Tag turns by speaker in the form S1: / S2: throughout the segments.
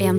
S1: en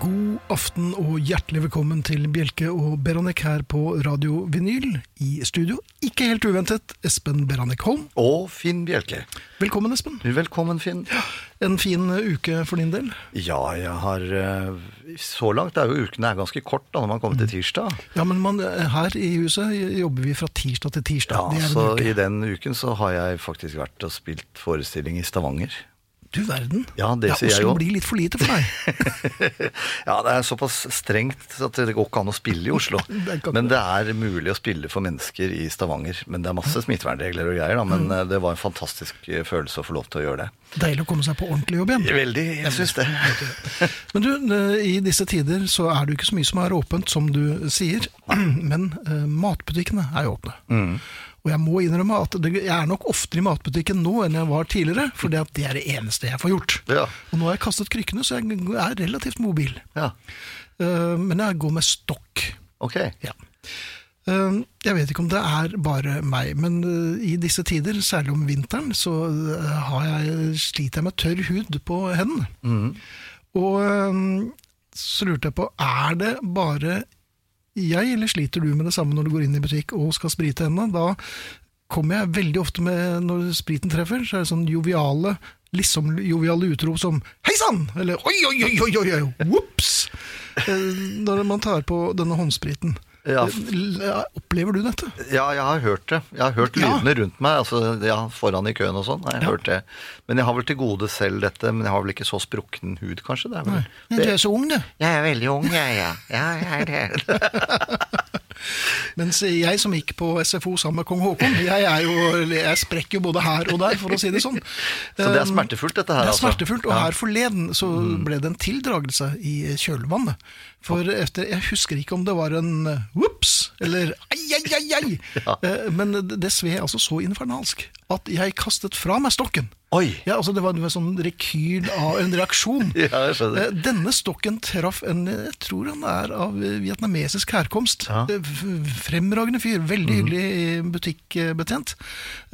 S2: God aften og hjertelig velkommen til Bjelke og Beranek her på Radio Vinyl i studio. Ikke helt uventet, Espen Beranek Holm.
S3: Og Finn Bjelke.
S2: Velkommen, Espen.
S3: Velkommen, Finn.
S2: En fin eh, uke for din del.
S3: Ja, jeg har eh, Så langt er jo ukene er ganske kort da, når man kommer
S2: Mm.
S3: til tirsdag.
S2: Ja, men man, eh, her i huset eh, jobber vi fra tirsdag til tirsdag.
S3: Ja,
S2: det er en
S3: så
S2: uke.
S3: I den uken så har jeg faktisk vært og spilt forestilling i Stavanger.
S2: Du verden.
S3: Ja, det sier jeg
S2: Oslo
S3: jo.
S2: blir litt for lite for deg.
S3: ja, det er såpass strengt at det går ikke an å spille i Oslo.
S2: Det kan
S3: Men det er mulig å spille for mennesker i Stavanger. Men det er masse smittevernregler og greier, da. Men
S2: Mm.
S3: eh, det var en fantastisk eh, følelse å få lov til å gjøre det.
S2: Deilig å komme seg på ordentlig jobb igjen.
S3: Veldig. Jeg syns det.
S2: Men du, eh, i disse tider så er det jo ikke så mye som er åpent, som du sier. Men eh, matbutikkene er jo åpne.
S3: Mm.
S2: Og jeg må innrømme at det, jeg er nok oftere i matbutikken nå enn jeg var tidligere, for det er det eneste jeg får gjort.
S3: Ja.
S2: Og nå har jeg kastet krykkene, så jeg er relativt mobil.
S3: Ja.
S2: Eh, Men jeg går med stokk.
S3: Ok.
S2: Ja. Eh, Jeg vet ikke om det er bare meg, men eh, i disse tider, særlig om vinteren, så eh, har jeg, sliter jeg med tørr hud på hendene. Og eh, så lurte jeg på, er det bare jeg, eller sliter du med det samme når du går inn i butikk og skal sprite hendene? Da kommer jeg veldig ofte med, når spriten treffer, så er det sånn joviale, liksom joviale utrop som «Hei sann!» eller «Oi, oi, oi, oi, oi, oi, whoops!» Eh, Når man tar på denne håndspriten.
S3: Ja.
S2: L- ja, Opplever du dette?
S3: Ja, jeg har hørt det. Jeg har hørt
S2: Ja.
S3: lydene rundt meg, altså ja, foran i køen og sånn. Jeg har
S2: Ja.
S3: hørt det. Men jeg har vel til gode selv dette, men jeg har vel ikke så sprukken hud, kanskje? Det er vel...
S2: Du er så ung, du.
S3: Jeg er veldig ung, jeg, ja. ja jeg er det.
S2: Mens jeg som gikk på SFO sammen med kong Haakon, jeg, er jo, jeg sprekker jo både her og der, for å si det sånn.
S3: Så det er smertefullt, dette her,
S2: Det er
S3: altså?
S2: smertefullt, og
S3: Ja. Mm.
S2: her forleden så ble det en tildragelse i kjølvannet. For efter, jeg husker ikke om det var en eh, whoops, eller ai, ai, ai, ai.
S3: Ja.
S2: Eh, Men det det sved altså så infernalsk at jeg kastet fra meg stokken.
S3: Oi!
S2: Ja, altså Det var en sånn rekyl av en reaksjon.
S3: Ja, jeg skjønner.
S2: Eh, Denne stokken traff en Jeg tror han er av eh, vietnamesisk herkomst.
S3: Ja. Mhm.
S2: Eh, f- Fremragende fyr. Veldig hyggelig butikkbetjent.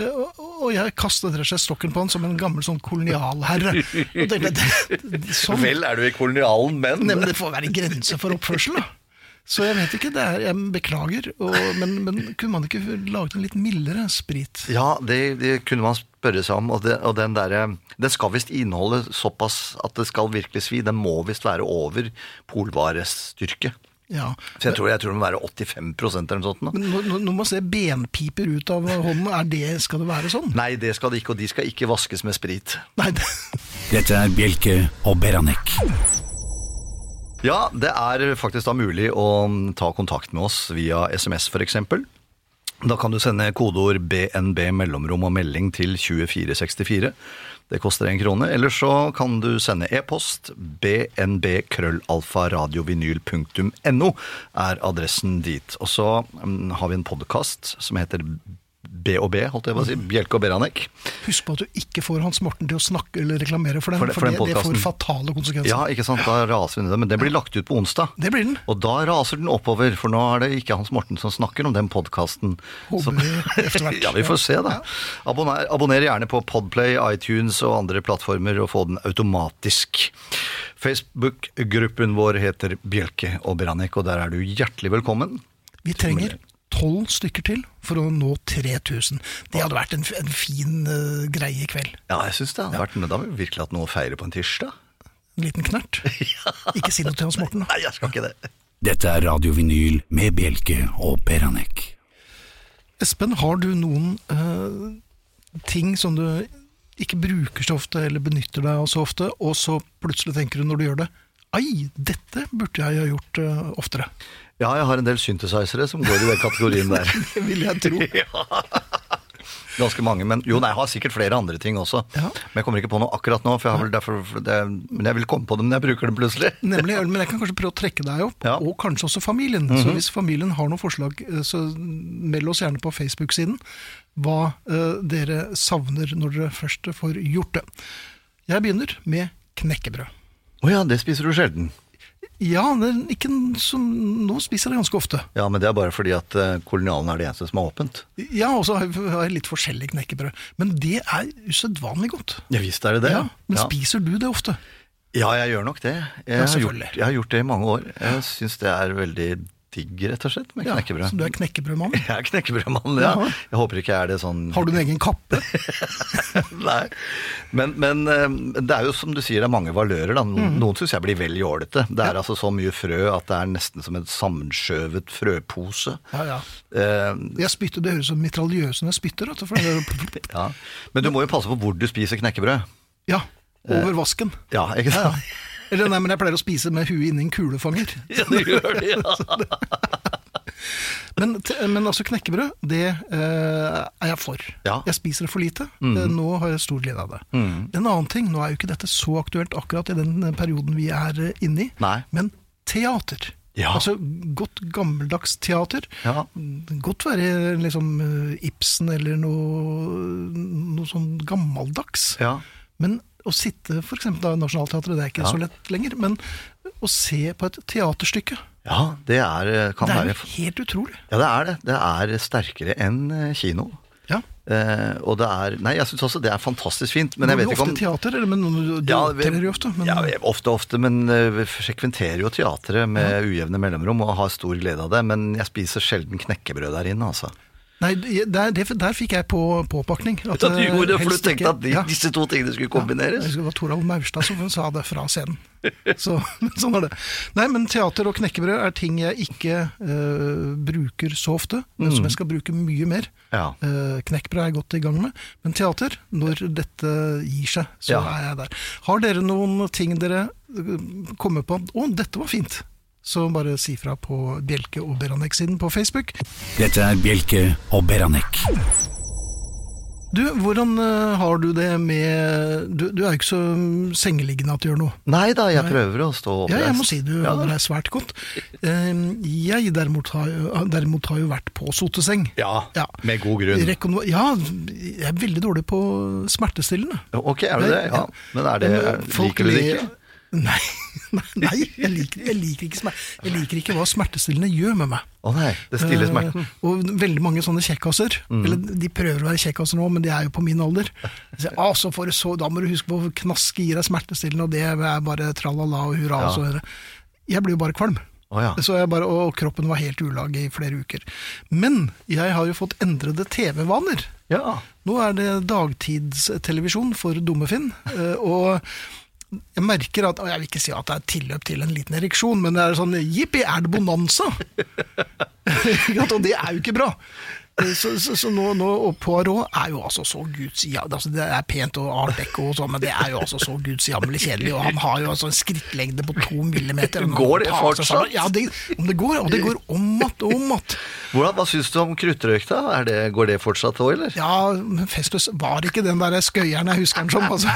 S2: Eh, Og og jeg kastet rett og slett stokken på han som en gammel sånn kolonialherre. Og det, det, det, sånn,
S3: Vel er du i kolonialen, men
S2: Nei, men det får være grenser for oppførsel, da. Så jeg vet ikke. det er, Jeg beklager, og, men, men kunne man ikke laget en litt mildere sprit?
S3: Ja, det, det kunne man spørre seg om. Og, det, og den derre Den skal visst inneholde såpass at det skal virkelig svi. Den må visst være over polvarestyrke.
S2: Ja.
S3: Så jeg tror, jeg tror det må være 85 eller noe sånt. nå.
S2: Men når, når- når man ser benpiper ut av hånden, er det, skal det være sånn?
S3: Nei, det skal det ikke, og de skal ikke vaskes med sprit.
S2: Nei, det,
S4: Dette er Bjelke og Beranek.
S3: Ja, det er faktisk da mulig å mm, ta kontakt med oss via SMS f.eks. Da kan du sende kodeord BNB mellomrom og melding til 2464. Det koster en krone. Eller så kan du sende e-post. bnbkrøllalfaradiovinyl.no er adressen dit. Og så mm, har vi en podkast som heter BOB, holdt jeg på å si. Bjelke og Beranek.
S2: husk på at du ikke får Hans Morten til å snakke eller reklamere for den,
S3: For
S2: for,
S3: det-
S2: det,
S3: for den
S2: det får
S3: podcasten.
S2: fatale konsekvenser.
S3: Ja, ikke sant? Da raser vi ned det. Men den blir lagt ut på onsdag.
S2: Det blir den.
S3: Og da raser den oppover, for nå er det ikke Hans Morten som snakker om den podkasten.
S2: Håper vi etter hvert.
S3: ja, vi får se, da. Abonner, abonner gjerne på Podplay, iTunes og andre plattformer, og få den automatisk. Facebook-gruppen vår heter Bjelke og Branek, og der er du hjertelig velkommen.
S2: Vi trenger tolv stykker til for å nå 3000. Det hadde vært en, f- en fin eh, greie i kveld.
S3: Ja, jeg syns det hadde vært Men da har vi virkelig hatt noe å feire på en tirsdag.
S2: En liten knert. Ikke si noe til Hans Morten. da.
S3: Nei, jeg skal ikke det.
S4: Dette er Radio Vinyl med Bjelke og Beranek.
S2: Espen, har du noen eh, ting som du ikke bruker så ofte, eller benytter deg av så ofte, og så plutselig tenker du når du gjør det Ai, dette burde jeg ha gjort eh, oftere.
S3: Ja, jeg har en del synthesizere som går i den kategorien der.
S2: Det vil jeg tro.
S3: Ja. Ganske mange, men jo, nei, jeg har sikkert flere andre ting også.
S2: Ja.
S3: Men jeg kommer ikke på noe akkurat nå, for jeg har vel derfor, for det, men jeg vil komme på det når jeg bruker det plutselig.
S2: Nemlig, øl, men jeg kan kanskje prøve å trekke deg opp,
S3: Ja. Mhm.
S2: og kanskje også familien. Så hvis familien har noen forslag, eh, så meld oss gjerne på Facebook-siden hva eh, dere savner når dere først får gjort det. Jeg begynner med knekkebrød.
S3: Å ja, det spiser du sjelden.
S2: Ja, det er ikke en som, nå spiser jeg det ganske ofte.
S3: Ja, men det er bare fordi at eh, kolonialen er det eneste som er åpent.
S2: Ja, og så har jeg- har jeg litt forskjellig knekkebrød. Men det er usedvanlig godt.
S3: Ja visst er det det.
S2: Ja, men
S3: ja.
S2: spiser du det ofte?
S3: ja, jeg gjør nok det. Jeg, har gjort,
S2: selvfølgelig.
S3: jeg har gjort det i mange år. Jeg syns det er veldig digg, rett og slett, med knekkebrød.
S2: Så du er knekkebrødmann?
S3: Jeg er knekkebrødmann, ja.
S2: Jaha.
S3: Jeg håper ikke jeg er det sånn
S2: Har du en egen kappe?
S3: Nei. Men, men eh, det er jo som du sier, det er mange valører. Da. Noen, noen syns jeg blir vel jålete. Det er altså så mye frø at det er nesten som en sammenskjøvet frøpose.
S2: Ja, ja.
S3: Eh,
S2: Jeg spytter, det høres ut som mitraljøsene spytter. vet du, For det er,
S3: ja. Men du må jo passe på hvor du spiser knekkebrød.
S2: ja,
S3: Eh.
S2: over vasken.
S3: Ja, ikke
S2: Ja,
S3: sant?
S2: ja. Eller nei, men jeg pleier å spise med huet inni en kulefanger.
S3: Ja, du gjør det, ja.
S2: Men, t- men altså knekkebrød, det eh, er jeg for.
S3: Ja. Mm.
S2: Jeg spiser det for lite. Eh, Nå har jeg stor glede av det. En annen ting, nå er jo ikke dette så aktuelt akkurat i den eh, perioden vi er eh, inne i,
S3: Nei.
S2: men teater.
S3: Ja.
S2: Altså godt gammeldags teater.
S3: Ja.
S2: Godt være liksom eh, Ibsen eller noe, noe sånn gammeldags.
S3: ja.
S2: Men å sitte for eksempel da i Nationaltheatret, det er ikke
S3: Ja.
S2: så lett lenger, men å se på et teaterstykke,
S3: Ja, det er, eh, kan
S2: det er
S3: være
S2: jo helt utrolig.
S3: Ja, det er det. Det er sterkere enn eh, kino.
S2: Ja.
S3: Eh, og det er Nei, jeg syns også det er fantastisk fint, men
S2: Men
S3: jeg vet
S2: du
S3: ikke
S2: ofte
S3: om
S2: teater, eller men du du
S3: Ja, vi-
S2: opptrer jo ofte. Men,
S3: Ja, vi- ofte, ofte, men eh, vi frekventerer jo teatret med ujevne mellomrom og har stor glede av det, men jeg spiser sjelden knekkebrød der inne, altså.
S2: Nei, der, det, der fikk jeg på påpakning. at,
S3: Ja, du gjorde det,
S2: eh,
S3: for du
S2: helst
S3: tenkte
S2: ikke-
S3: at de,
S2: ja.
S3: disse to tingene skulle
S2: Jeg
S3: kombineres?
S2: husker det var Toralv Maurstad som sa det fra scenen. Så, men sånn er det. Nei, men teater og knekkebrød er ting jeg ikke eh, bruker så ofte, men som jeg skal bruke mye mer.
S3: Mm. Ja.
S2: Eh, knekkebrød er jeg godt i gang med, men teater, når dette gir seg, så
S3: Ja.
S2: er jeg der. Har dere noen ting dere eh, kommer på Å, dette var fint! Så bare si fra på Bjelke og Beranek-siden på Facebook.
S4: Dette er Bjelke og Beranek.
S2: Du, hvordan eh, har du det med Du, du er jo ikke så mm, sengeliggende at du gjør noe.
S3: Nei da, jeg prøver å stå oppreist.
S2: Ja, jeg må si du
S3: Ja.
S2: holder deg svært godt. Eh, Jeg derimot har, jo- derimot har jo vært på soteseng.
S3: Ja,
S2: Ja.
S3: med god grunn.
S2: Rekono- Ja, jeg er veldig dårlig på smertestillende.
S3: Ok, er du det? Ja. Men er det,
S2: Men, eh, folk
S3: liker du det
S2: ler-
S3: ikke?
S2: Nei, nei jeg, liker, jeg, liker ikke smer jeg liker ikke hva smertestillende gjør med meg.
S3: Å nei, det stiller smerten. Mm.
S2: Eh, Og veldig mange sånne kjekkaser. Eller de prøver å være kjekkaser nå, men de er jo på min alder. De sier, ah, så får du så, da må du huske på å knaske i deg smertestillende, og det er bare tralala og hurra. Og så videre. jeg blir jo bare kvalm.
S3: Å ja.
S2: Så jeg bare, og kroppen var helt i ulag i flere uker. Men jeg har jo fått endrede TV-vaner.
S3: Ja.
S2: Nå er det dagtidstelevisjon for Dummefinn, eh, og jeg merker at, og jeg vil ikke si at det er tilløp til en liten ereksjon, men det er sånn, jippi, er det bonanza? Ikke sant? og det er jo ikke bra. Eh, Så, så, så nå, nå, og Poirot er jo altså så guds... Ja, altså det er pent og Art Deco og sånn, men det er jo altså så gudsjammelig kjedelig, og han har jo altså en skrittlengde på to millimeter. og nå
S3: Går det
S2: tar seg sammen.
S3: fortsatt?
S2: Ja, det, om det går, og det går om at, om at.
S3: Hvordan, hva syns du om kruttrøyk, da? Er det, går det fortsatt òg, eller?
S2: Ja, men Festus var ikke den der skøyeren jeg husker han som, altså.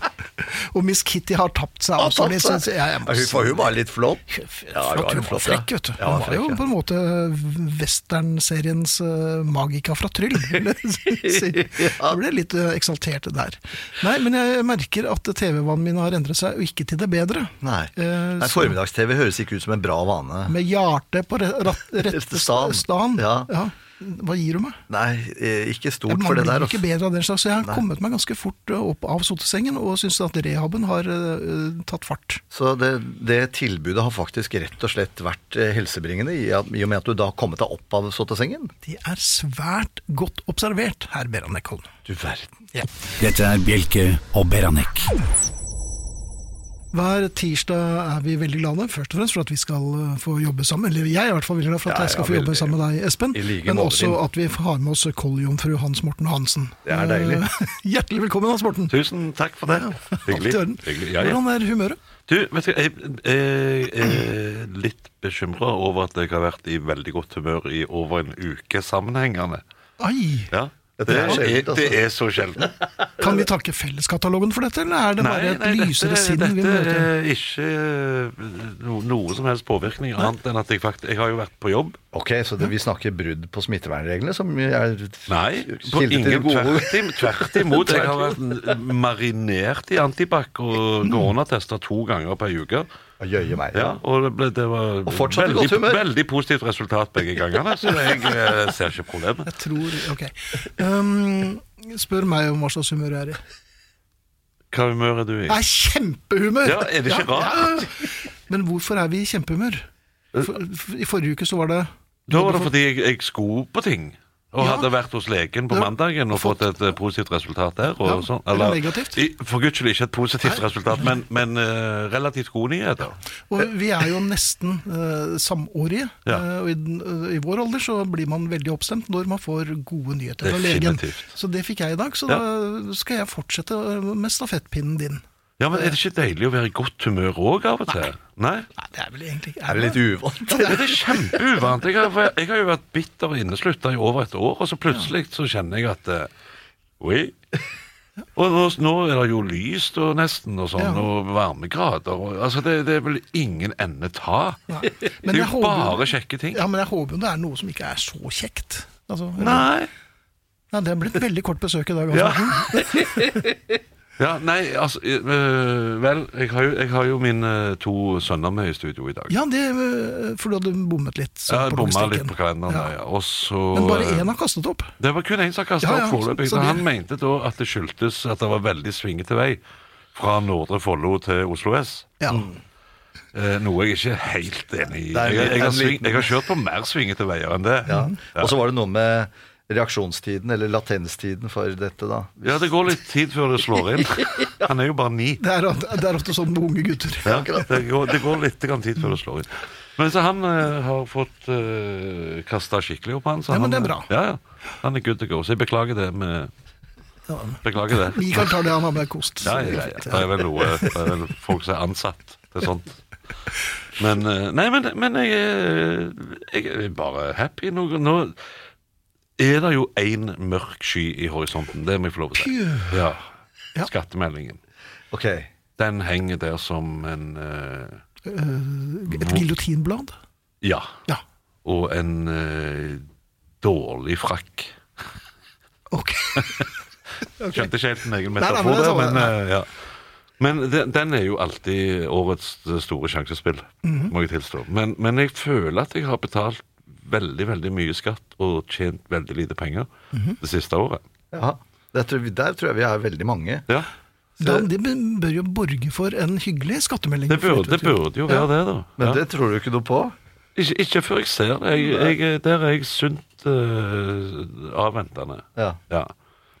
S2: og Miss Kitty har tapt seg også. litt, så- så- ja, jeg må
S3: Ja, hun,
S2: si-
S3: for hun var litt flott.
S2: Flott, hun var frekk, vet du.
S3: Ja,
S2: Hun var jo
S3: flott,
S2: på
S3: ja.
S2: en måte westernseriens eh, magika fra Tryll. vil jeg si. Jeg ble litt eh, eksaltert der. Nei, men jeg merker at TV-vanene mine har endret seg, og ikke til det bedre.
S3: Nei.
S2: Eh,
S3: Nei
S2: så-
S3: Formiddags-TV høres ikke ut som en bra vane.
S2: Med hjertet på re- rat- rette
S3: Stan.
S2: stand.
S3: Ja.
S2: Ja. Hva gir du meg?
S3: Nei, eh, ikke stort
S2: Man
S3: for det
S2: blir
S3: der.
S2: ikke
S3: altså.
S2: bedre av den slags. så Jeg har kommet meg ganske fort ø, opp av sotesengen og syns at rehaben har ø, ø, tatt fart.
S3: Så det, det tilbudet har faktisk rett og slett vært eh, helsebringende, i, at- i og med at du da har kommet deg opp av sottesengen.
S2: Det er svært godt observert, herr Beran Eckholm.
S3: Du verden.
S4: Dette er Bjelke og Beranek.
S2: Hver tirsdag er vi veldig glade, først og fremst for at vi skal ø, få jobbe sammen. Eller jeg er i hvert fall veldig glad for at
S3: Ja,
S2: jeg skal
S3: ja,
S2: få
S3: veldig.
S2: jobbe sammen med deg, Espen.
S3: I like
S2: men
S3: måte,
S2: også
S3: Finn.
S2: at vi har med oss kolljomfru Hans Morten Hansen.
S3: Det er deilig.
S2: Eh, Hjertelig velkommen, Hans Morten.
S1: Tusen takk for det.
S2: Alt
S1: Hyggelig.
S2: i orden.
S1: Hyggelig. Ja, ja.
S2: Hvordan er humøret?
S1: Du, vet du, jeg jeg er litt bekymra over at jeg har vært i veldig godt humør i over en uke sammenhengende.
S2: Ai!
S1: Ja. Det
S3: Dette
S1: er,
S3: er sjeldent,
S1: det
S3: altså.
S1: er så sjelden.
S2: Kan vi takke felleskatalogen for dette, eller er det bare et lysere
S1: dette,
S2: sinn vi
S1: dette
S2: møter?
S1: er ikke eh, no, noe som helst påvirkning, annet enn at jeg faktisk Jeg har jo vært på jobb.
S3: Ok, så det, vi snakker brudd på smittevernreglene, som er
S1: Nei, på
S3: kilde til
S1: ingen
S3: gode
S1: tvert, im- tvert imot. Jeg har vært n- marinert i antibac og koronatester to ganger per uke.
S3: Å jøye meg.
S1: Ja, og det, ble, det var
S3: Og fortsatt i
S1: veldig,
S3: godt humør.
S1: veldig positivt resultat begge gangene, så jeg eh, ser ikke problemet.
S2: Jeg tror Ok. Um, spør meg om hva slags humør jeg er i.
S1: Hva humør er du i?
S2: Jeg er i kjempehumør!
S1: Ja, er det ikke rart? Øh.
S2: ja. Men hvorfor er vi i kjempehumør? For, for, I forrige uke så var det
S1: Da var det fordi jeg, jeg skulle på ting. Og
S2: Ja.
S1: hadde vært hos legen på
S2: Ja.
S1: mandagen og fått et eh, positivt resultat der. Og
S2: Ja,
S1: sånn.
S2: eller negativt.
S1: i- For guds skyld ikke et positivt resultat, men, men eh, relativt gode nyheter.
S2: Og vi er jo nesten eh, samårige,
S1: Øh. Ja.
S2: eh, og i, den- eh, i vår alder så blir man veldig oppstemt når man får gode nyheter fra legen.
S1: Definitivt.
S2: Så det fikk jeg i dag, så
S1: Ja.
S2: da skal jeg fortsette øh, med stafettpinnen din.
S1: Ja, men Er det ikke deilig å være i godt humør òg av og til? Nei?
S2: Nei, det er vel egentlig
S3: Er det litt uvant?
S1: Ja, Det er kjempeuvant. Jeg har, jeg har jo vært bitter og inneslutta i over et år, og så plutselig så kjenner jeg at eh, Oi. Og nå, nå er det jo lyst og nesten og
S2: Ja.
S1: sånn, og varmegrader og Altså, det, det er vel ingen ende ta.
S2: Nei.
S1: Det
S2: Men
S1: er
S2: jeg
S1: jo
S2: håper jo-
S1: bare kjekke ting.
S2: Ja, men jeg håper jo det er noe som ikke er så kjekt. Altså,
S1: Nei.
S2: Nei, det ble et veldig kort besøk i dag. Altså.
S1: Ja. ja. Nei, altså eh, Vel, jeg har jo, jeg har jo mine to sønner med i studio i dag.
S2: Ja, det, øh, for du hadde bommet litt. så
S1: jeg har
S2: på
S1: bomma litt
S2: logistikken.
S1: på kalenderen, ja. ja. Og så
S2: Men bare
S1: eh,
S2: én har kastet opp.
S1: Det var kun én som kasta
S2: Ja, ja,
S1: opp foreløpig.
S2: så- så det-
S1: Han mente da at det skyldtes at det var veldig svingete vei fra Nordre Follo til Oslo S.
S2: Ja.
S1: Eh, noe jeg ikke er helt enig i.
S3: Det er en
S1: Jeg, jeg, har,
S3: liten-
S1: sving, jeg har kjørt på mer svingete veier enn det.
S3: Ja. Og så var det noe med reaksjonstiden, eller latenstiden, for dette, da.
S1: Ja, det går litt tid før det slår inn. Han er jo bare ni.
S2: Det er, det er ofte sånn med unge gutter.
S1: Ja, det, går, det går litt grann tid før det slår inn. Men så han eh, har fått uh, kasta skikkelig opp, han. Så
S2: Ja, men
S1: han, eh,
S2: det er bra.
S1: Ja, ja. Han er good to go. Så jeg beklager det. Med,
S2: Ja.
S1: beklager det.
S2: Mikael tar det han har med kost.
S1: Ja,
S2: så det er
S1: ja, ja.
S2: greit.
S1: Det er vel noe Det er vel folk som er ansatt til sånt. Men eh, Nei, men, men jeg, er- jeg er bare happy. Nå, nå er det jo én mørk sky i horisonten. Det må jeg få lov til å si. Ja.
S2: Ja.
S1: Skattemeldingen.
S3: Ok.
S1: Den henger der som en eh,
S2: Et giljotinblad?
S1: Ja.
S2: Ja.
S1: Og en eh, dårlig frakk.
S2: Ok.
S1: Skjønte ikke helt min egen
S2: nei, men
S1: metafor
S2: det er
S1: der,
S2: sånn,
S1: men eh, ja. Men den, den er jo alltid årets eh, store sjansespill, må jeg tilstå. Men, men jeg føler at jeg har betalt veldig, veldig mye skatt og tjent veldig lite penger det siste året.
S3: Ja. Der tror, vi- der tror jeg vi er veldig mange.
S1: Ja,
S2: Da, det bør jo borge for en hyggelig skattemelding.
S1: Det burde, det burde jo være det, da.
S3: Men
S1: Ja.
S3: det tror du ikke noe på?
S1: Ikke, ikke før jeg ser det. Jeg, jeg, der er jeg sunt eh, avventende.
S3: Ja.
S1: Ja.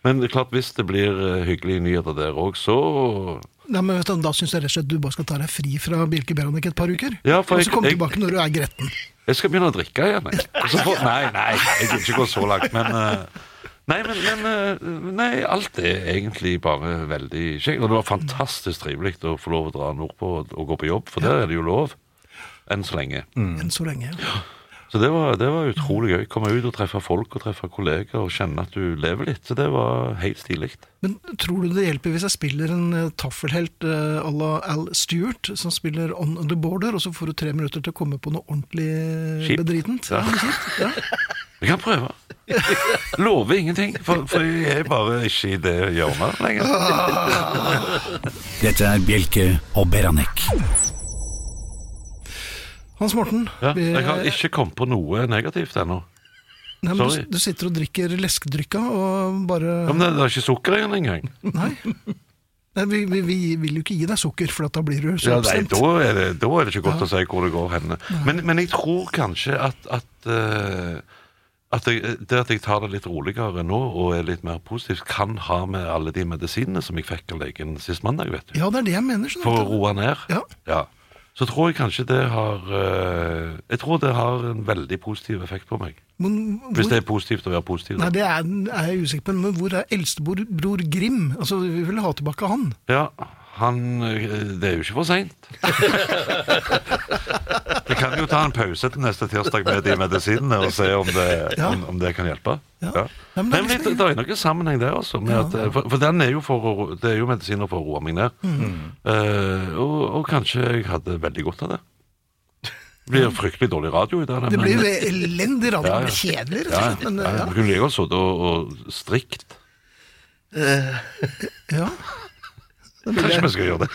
S1: Men det er klart, hvis det blir eh, hyggelige nyheter der òg, så
S2: Nei, men vet du, Da syns jeg rett og slett du bare skal ta deg fri fra Bjelke Beranek et par uker.
S1: Ja, for
S2: og
S1: jeg-
S2: så komme
S1: jeg-
S2: tilbake når du er gretten.
S1: Jeg skal begynne å drikke igjen. Jeg. Og så får- nei, nei, jeg vil ikke gå så langt, men eh, Nei, men, men eh, nei, alt er egentlig bare veldig kjekt. Og det var fantastisk trivelig å få lov å dra nordpå og- og gå på jobb, for der er det jo lov. Enn så lenge.
S2: Enn så lenge.
S1: Så det var, det var utrolig gøy. Komme ut og treffe folk og treffe kolleger og kjenne at du lever litt. Så det var helt stilig.
S2: Men tror du det hjelper hvis jeg spiller en eh, taffelhelt eh, à la Al Stewart, som spiller On The Border, og så får du tre minutter til å komme på noe ordentlig eh,
S1: Kjipt.
S2: bedritent?
S1: Ja.
S2: noe kjipt, ja.
S1: Vi kan prøve. Lover ingenting, for, for jeg er bare ikke i det hjørnet lenger.
S4: Dette er Bjelke og Beranek.
S2: Hans Morten,
S1: Ja,
S2: vi-
S1: jeg har ikke kommet på noe negativt ennå.
S2: nei, men
S1: sorry.
S2: du, du sitter og drikker leskedrykka og bare
S1: Ja, men det, det er ikke sukker i den engang.
S2: Nei. nei vi, vi, vi vil jo ikke gi deg sukker, for at da blir du så
S1: Ja, nei,
S2: oppstemt.
S1: da, er det, da er det ikke godt å si hvor det går hen. Men, men jeg tror kanskje at, at, eh, at jeg, det at jeg tar det litt roligere nå og er litt mer positiv, kan ha med alle de medisinene som jeg fikk av legen sist mandag, vet du.
S2: Ja, det er det jeg mener. Sånn
S1: For å
S2: at-
S1: roe ned.
S2: Ja.
S1: Så tror jeg kanskje det har eh, Jeg tror det har en veldig positiv effekt på meg.
S2: Men
S1: Hvis
S2: hvor,
S1: det er positivt å være positiv. da.
S2: nei, det er, er jeg usikker på, men hvor er eldstebror bror Grim? Altså, Vi vil ha tilbake han.
S1: Ja, han eh, Det er jo ikke for seint. Vi kan jo ta en pause til neste tirsdag med de medisinene og se om det,
S2: Ja.
S1: om, om det kan hjelpe.
S2: Ja.
S1: Ja.
S2: Ja, men det
S1: Nei,
S2: er
S1: men det,
S2: liksom-
S1: det er noen sammenheng der også. Med at, eh, for for den er jo for å, ro- det er jo medisiner for å roe meg ned.
S2: Mm.
S1: Eh, og, og kanskje jeg hadde veldig godt av det. Det blir fryktelig dårlig radio ut av det.
S2: Det
S1: men-
S2: blir jo elendig radio.
S1: Ja, ja.
S2: Det blir kjedelig, rett
S1: ja,
S2: og
S1: ja.
S2: slett. Men,
S1: ja.
S2: eh,
S1: Du kunne like godt sittet og, og strikt.
S2: ja, ja.
S1: Kanskje vi skal gjøre det.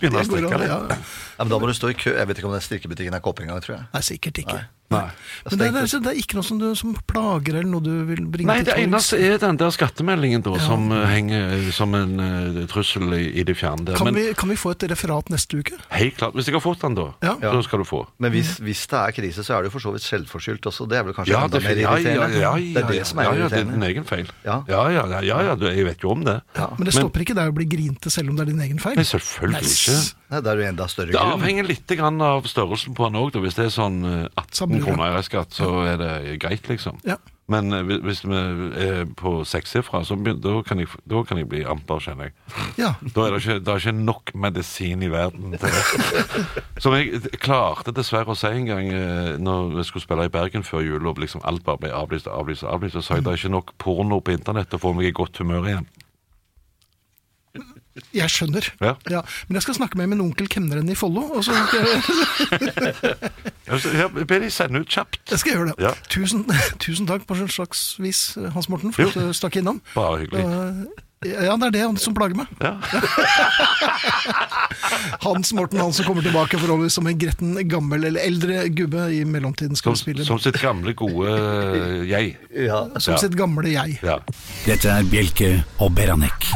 S1: Begynne å
S2: Det går
S1: strikke
S2: an.
S1: litt.
S2: Ja.
S3: Ja, men da må du stå i kø. Jeg vet ikke om den strikkebutikken er kåpe engang, tror jeg.
S2: Nei, sikkert ikke.
S1: Nei.
S2: Men det er, det, er, det er ikke noe som, du, som plager, eller noe du vil bringe
S1: Nei,
S2: til
S1: det
S2: torgs?
S1: eneste er eh, den der skattemeldingen da, som eh, henger eh, som en eh, trussel i, i det fjerne der.
S2: Kan,
S1: Men
S2: vi- kan vi få et referat neste uke?
S1: helt klart, hvis jeg har fått den da,
S2: Ja.
S1: så skal du få.
S3: Men hvis, hvis det er krise, så er det jo for så vidt selvforskyldt også. Det er vel kanskje
S1: Mm. Ja,
S3: enda
S1: det,
S3: mer
S1: ja, ja, ja,
S3: irriterende.
S1: ja,
S3: det er det som er
S1: ja, ja, det er
S3: irriterende.
S1: din egen feil. Ja,
S3: Ja.
S1: ja, ja, ja, ja du, jeg vet jo om det.
S2: Men det stopper ikke deg å bli grinte selv om det er din egen feil.
S1: Nei, selvfølgelig
S2: Nice.
S1: ikke.
S3: Nei, det er jo enda større
S1: Det
S3: grunn.
S1: avhenger litt grann av størrelsen på den òg. Hvis det er sånn eh, 18
S2: Samme det.
S1: kroner i restskatt, så er det greit, liksom.
S2: Ja.
S1: Men eh, hvis- hvis vi er på sekssifra, så begyn- da kan jeg, f- da kan jeg bli amper, kjenner jeg.
S2: Ja.
S1: Da er det ikke, det er ikke nok medisin i verden til det. Som jeg d- klarte dessverre å si en gang eh, når vi skulle spille i Bergen før jul, og liksom alt bare ble avlyst og avlyst, og avlyst, så sa jeg det er ikke nok porno på internett til å få meg i godt humør igjen.
S2: Jeg skjønner.
S1: Ja.
S2: Men jeg skal snakke med min onkel kemneren i Follo, og så skal jeg,
S1: Altså, her Ber de sende ut kjapt?
S2: jeg skal gjøre det.
S1: Ja.
S2: Tusen, tusen takk på slags vis, eh, Hans Morten, for
S1: Jo.
S2: at du stakk innom.
S1: Bare hyggelig.
S2: Eh, Ja, det er det han som plager meg.
S1: Ja.
S2: Hans Morten han som kommer tilbake forholdsvis som en gretten gammel eller eldre gubbe i mellomtiden skal
S1: Som,
S2: spille
S1: som sitt gamle, gode eh, jeg.
S3: Ja.
S2: som
S1: ja.
S2: sitt gamle jeg.
S1: Ja.
S4: Dette er Bjelke og Beranek.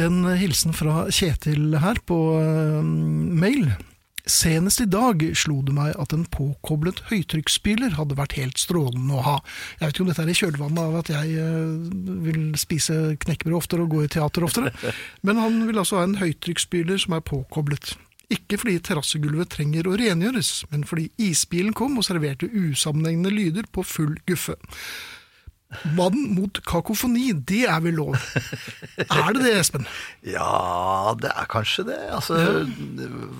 S2: En hilsen fra Kjetil her på eh, mail. Senest i dag slo det meg at en påkoblet høytrykksspyler hadde vært helt strålende å ha. Jeg vet ikke om dette er i kjølvannet av at jeg eh, vil spise knekkebrød oftere og gå i teater oftere, men han vil altså ha en høytrykksspyler som er påkoblet. Ikke fordi terrassegulvet trenger å rengjøres, men fordi isbilen kom og serverte usammenhengende lyder på full guffe. Vann mot kakofoni, det er vel lov? Er det det, Espen?
S3: ja, det er kanskje det. Altså,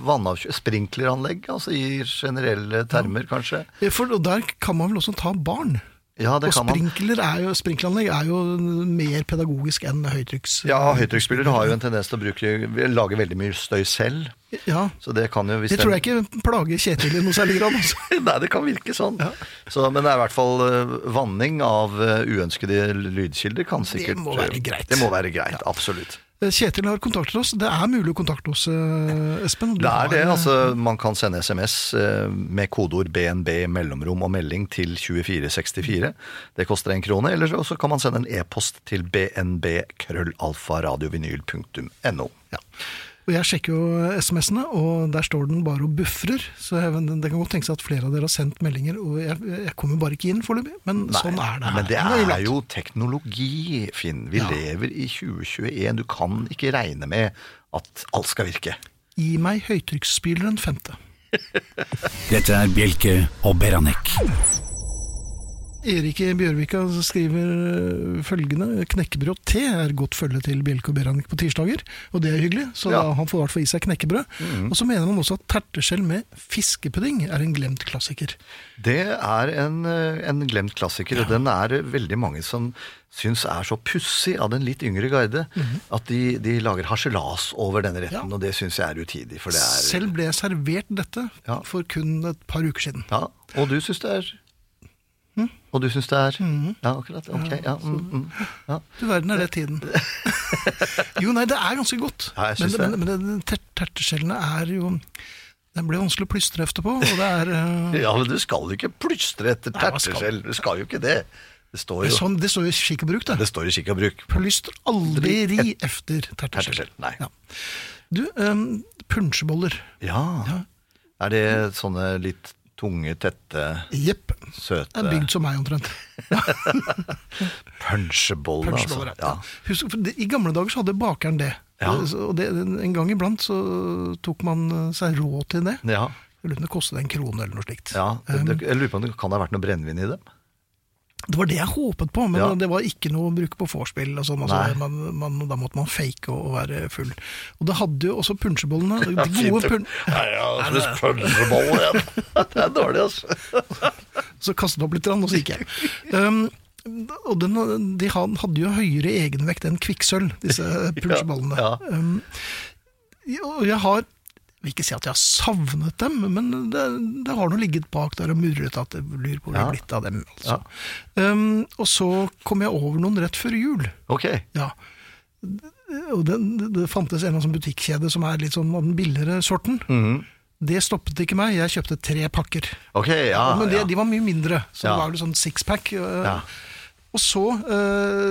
S3: vannavkjø... Sprinkleranlegg, altså i generelle termer, kanskje.
S2: Ja, For og der kan man vel også ta barn?
S3: Ja, det
S2: og
S3: kan man.
S2: sprinkler er jo, sprinkleranlegg er jo mer pedagogisk enn høytrykks...
S3: Ja, høytrykksspiller har jo en tendens til å bruke, lage veldig mye støy selv.
S2: Ja,
S3: Så det kan jo hvis
S2: Det tror jeg ikke plager Kjetil i noe særlig grad. Altså.
S3: Nei, det kan virke sånn. Så, men det er i hvert fall eh, vanning av eh, uønskede lydkilder kan sikkert eh,
S2: må være greit.
S3: Det må være greit, absolutt.
S2: Kjetil har kontaktet oss. Det er mulig å kontakte oss, eh, Espen. Du
S3: Det er
S2: har,
S3: det.
S2: eh,
S3: altså Man kan sende SMS eh, med kodeord BNB, mellomrom og melding til 2464. Det koster en krone. Eller så- så kan man sende en e-post til bnb.krøllalfaradiovinyl.no.
S2: Ja. Og jeg sjekker jo SMS-ene, og der står den bare og buffrer. Så jeg, men det kan godt tenkes at flere av dere har sendt meldinger, og jeg, jeg kommer bare ikke inn foreløpig. Men sånn er det her.
S3: Men det
S2: En gang
S3: er
S2: iblant.
S3: jo teknologi, Finn. Vi lever i 2021. Du kan ikke regne med at alt skal virke.
S2: Gi meg høytrykksspyleren femte.
S4: Dette er Bjelke og Beranek.
S2: Erik i Bjørvika skriver øh, følgende Knekkebrød og te er godt følge til Bjelke og Beranek på tirsdager, og det er hyggelig, så
S3: Ja. Mm.
S2: da han får i hvert fall i seg knekkebrød. Og så mener han også at terteskjell med fiskepudding er en glemt klassiker.
S3: Det er en, eh, en glemt klassiker, og den er det veldig mange som syns er så pussig av den litt yngre garde, at de, de lager harselas over denne retten,
S2: Mhm. Ja.
S3: og det syns jeg er utidig, for det er
S2: Selv ble jeg servert dette
S3: Ja.
S2: for kun et par uker siden.
S3: Ja, og du syns det er
S2: Hm?
S3: Og du syns det er
S2: Mhm.
S3: Ja, akkurat. Ok. Ja, mm, mm, ja.
S2: Du verden er det tiden. jo, nei, det er ganske godt.
S3: Ja, jeg
S2: men
S3: synes
S2: men, men det- ter terteskjellene er jo Den ble vanskelig å plystre efter på, og det er øh,
S3: ja men du skal jo ikke plystre etter
S2: Nei, hva skal-
S3: terteskjell. Du skal jo ikke det. Det står
S2: det, er
S3: jo
S2: sånn, det står jo i skikk og bruk, det.
S3: Det står i skikk og bruk.
S2: Plystre aldri efter terteskjell.
S3: Terteskjell. Nei.
S2: Ja. Du, um, punsjeboller.
S3: Ja. Er det sånne litt tunge, tette,
S2: Jepp. Det
S3: søte
S2: er bygd som meg, omtrent.
S3: punsjeboller? Altså.
S2: Punsjeboller,
S3: Ja.
S2: ja. Husk, for det, I gamle dager så hadde bakeren det.
S3: Ja.
S2: Eh, så- Og det, en gang iblant så tok man eh, seg råd til det.
S3: Ja.
S2: Jeg lurer på om det kostet en krone eller noe slikt.
S5: Um,
S3: ja. Det- det- Jeg lurer på om det kan ha vært noe brennevin i dem?
S5: Det var det jeg håpet på, men
S3: Ja.
S5: det var ikke noe bruk på vorspiel. og sånn, Altså,
S3: Nei.
S5: man, man, da måtte man fake og, og være full. Og det hadde jo også punsjebollene. De gode pun
S6: Nei, jeg har spist pølseboller igjen.
S3: Det er dårlig, altså.
S5: så kastet jeg opp litt, og så gikk jeg. Um, og den, de han- hadde jo høyere egenvekt enn kvikksølv, disse punsjebollene.
S3: ja.
S5: Um, og jeg har jeg vil ikke si at jeg har savnet dem, men det, det har nå ligget bak der og murret at jeg lurer på hvor det
S3: Ja.
S5: er blitt av dem. Altså. Um, og så kom jeg over noen rett før jul.
S3: Ok.
S5: Ja. Og det, det fantes en eller annen sånn butikkjede som er litt sånn av den billigere sorten.
S3: Mhm.
S5: Det stoppet ikke meg. Jeg kjøpte tre pakker.
S3: Ok, ja.
S5: Men det,
S3: Ah, ja.
S5: de var mye mindre, så
S3: Ja.
S5: det var vel sånn sixpack. øh,
S3: Ja.
S5: Og så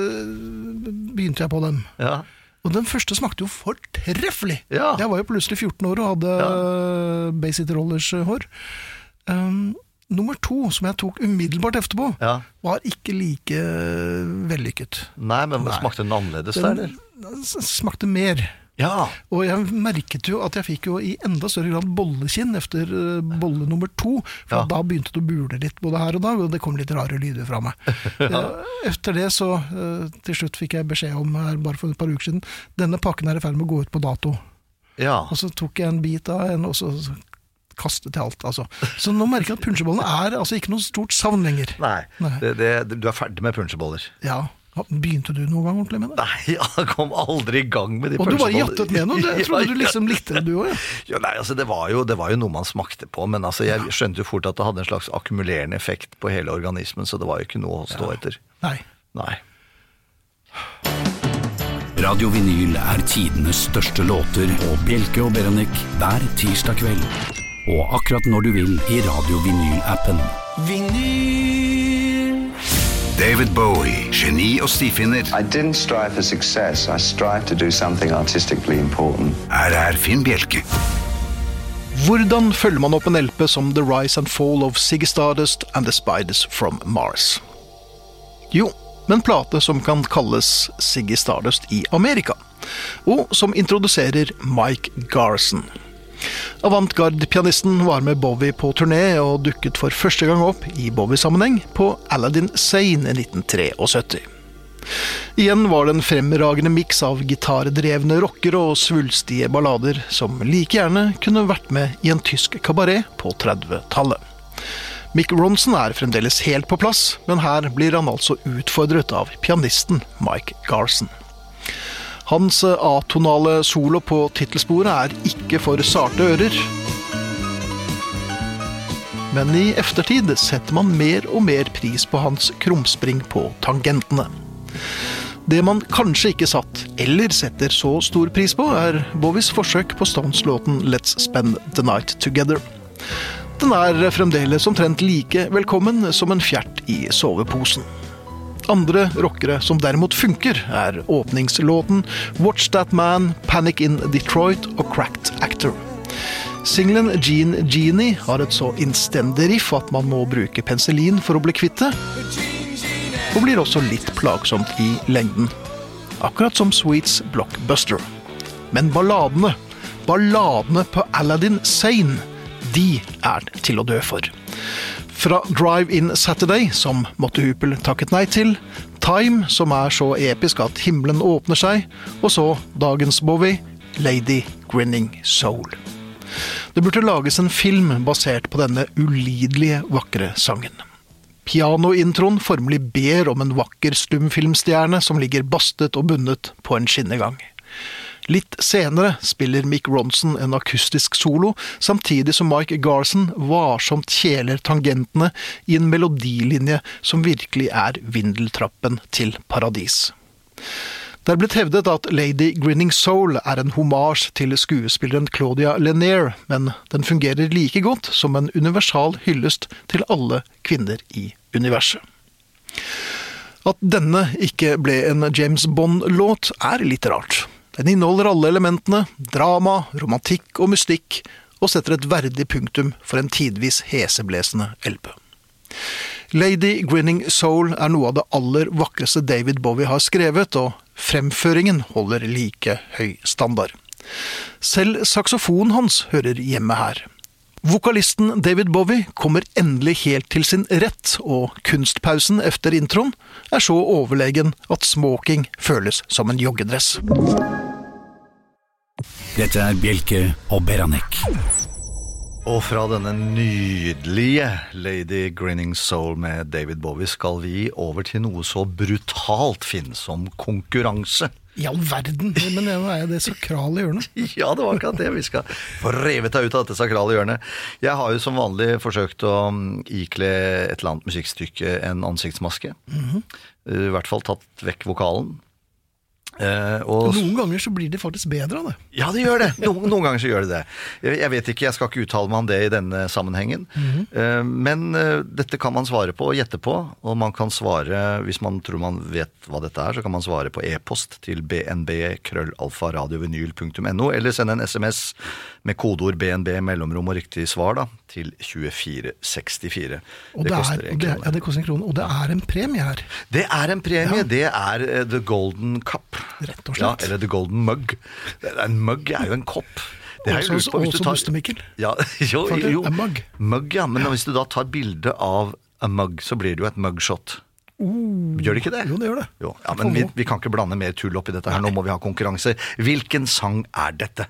S5: øh, begynte jeg på dem.
S3: ja.
S5: Og den første smakte jo fortreffelig!
S3: Ja.
S5: Jeg var jo plutselig 14 år og hadde øh, Baysitter Rollers-hår. Um, nummer to, som jeg tok umiddelbart etterpå,
S3: Ja.
S5: var ikke like øh, vellykket.
S3: Nei, men smakte den annerledes der, eller?
S5: Den, den s- smakte mer.
S3: Ja.
S5: Og jeg merket jo at jeg fikk jo i enda større grad bollekinn etter eh, bolle nummer to, for
S3: Ja.
S5: da begynte det å bule litt både her og da, og det kom litt rare lyder fra meg. Eh, Etter det så, eh, til slutt fikk jeg beskjed om her bare for et par uker siden, denne pakken er i ferd med å gå ut på dato.
S3: Ja.
S5: Og så tok jeg en bit av en, og så så kastet jeg alt, altså. Så nå merker jeg at punsjebollene er altså ikke noe stort savn lenger.
S3: Nei,
S5: Nei.
S3: Det, det, du er ferdig med punsjeboller.
S5: Ja, begynte du noen gang ordentlig med det?
S3: Nei, han kom aldri i gang med de
S5: Og du bare
S3: pølsebollene.
S5: jattet med noe, det trodde du
S3: Ja, ja.
S5: liksom likte det du òg, ja.
S3: Ja, nei, altså det var, jo, det var jo noe man smakte på, men altså, jeg skjønte jo fort at det hadde en slags akkumulerende effekt på hele organismen, så det var jo ikke noe å stå etter.
S5: Nei.
S3: Nei.
S4: Radio Vinyl er tidenes største låter og Bjelke og Beranek hver tirsdag kveld. Og akkurat når du vil i Radio Vinyl-appen.
S7: David Bowie, geni og stifinner.
S8: I didn't strive for success. I strived to do something artistically important.
S7: Her er Finn Bjelke.
S2: Hvordan følger man opp en LP som The Rise and Fall of Ziggy Stardust and The Spiders from Mars? Jo, med en plate som kan kalles Ziggy Stardust i Amerika, og som introduserer Mike Garson. Avantgarde-pianisten var med Bowie på turné og dukket for første gang opp i Bowie-sammenheng på Aladdin Sane i 1973. Igjen var det en fremragende miks av gitardrevne rockere og svulstige ballader som like gjerne kunne vært med i en tysk kabaret på 30-tallet. Mick Ronson er fremdeles helt på plass, men her blir han altså utfordret av pianisten Mike Garson. Hans eh, atonale solo på tittelsporet er ikke for sarte ører. Men i eftertid setter man mer og mer pris på hans krumspring på tangentene. Det man kanskje ikke satt, eller setter så stor pris på, er Bowies forsøk på Stones-låten Let's Spend The Night Together. Den er fremdeles omtrent like velkommen som en fjert i soveposen. Andre rockere som derimot funker, er åpningslåten Watch That Man, Panic in Detroit og Cracked Actor. Singelen Gene Genie har et så innstendig riff at man må bruke penicillin for å bli kvitt det, og blir også litt plagsomt i lengden. Akkurat som Sweets Blockbuster. Men balladene, balladene på Aladdin Sane, de er til å dø for. Fra Drive In Saturday, som Motte Hupel takket nei til, Time, som er så episk at himmelen åpner seg, og så dagens Bowie, Lady Grinning Soul. Det burde lages en film basert på denne ulidelige vakre sangen. Pianointroen formelig ber om en vakker stumfilmstjerne som ligger bastet og bundet på en skinnegang. Litt senere spiller Mick Ronson en akustisk solo, samtidig som Mike Garson varsomt kjeler tangentene i en melodilinje som virkelig er vindeltrappen til paradis. Det er blitt hevdet at Lady Grinning Soul er en homasj til skuespilleren Claudia Lanier, men den fungerer like godt som en universal hyllest til alle kvinner i universet. At denne ikke ble en James Bond-låt, er litt rart. Den inneholder alle elementene – drama, romantikk og mystikk – og setter et verdig punktum for en tidvis heseblesende LP. Lady Grinning Soul er noe av det aller vakreste David Bowie har skrevet, og fremføringen holder like høy standard. Selv saksofonen hans hører hjemme her.
S9: Vokalisten David Bowie kommer endelig helt til sin rett, og kunstpausen etter introen er så overlegen at smoking føles som en joggedress.
S4: Dette er Bjelke og Beranek.
S3: Og fra denne nydelige Lady Grinning Soul med David Bowie skal vi over til noe så brutalt finn som konkurranse.
S2: I all verden! Men nå er jeg det sakrale hjørnet.
S3: Ja, det var akkurat det. Vi skal få revet deg ut av dette sakrale hjørnet. Jeg har jo som vanlig forsøkt å mm, ikle et eller annet musikkstykke en ansiktsmaske. Eh, I hvert fall tatt vekk vokalen. Eh, og
S2: Noen ganger så blir det faktisk bedre av det.
S3: Ja, det gjør det. Noen, noen ganger så gjør det det. Jeg, jeg vet ikke, jeg skal ikke uttale meg om det i denne sammenhengen. Eh, Men eh, dette kan man svare på og gjette på. Og man kan svare, hvis man tror man vet hva dette er, så kan man svare på e-post til bnb-krøllalfa-radiovinyl.no, eller sende en SMS med kodeord BNB, mellomrom og riktig svar da, til 2464.
S2: Og det,
S3: koster
S2: er,
S3: en
S2: og det, er-
S3: krone.
S2: ja, det koster en krone. Og det er en premie her.
S3: Det er en premie. Det er eh, The Golden Cup.
S2: Rett og slett.
S3: Ja, eller The Golden Mug. Det er- En mug er jo en kopp. har jeg
S2: Også-
S3: lurt på, hvis du
S2: også
S3: tar-
S2: Buster-Mikkel.
S3: Ja, jo,
S2: Faktisk,
S3: jo.
S2: en mug.
S3: Mug, ja. Men hvis du da tar bilde av a mug, så blir det jo et mugshot. Gjør det ikke det?
S2: Uh. Jo, det gjør det.
S3: Jo, ja, men vi, vi kan ikke blande mer tull opp i dette her. Nå må vi ha konkurranse. Hvilken sang er dette?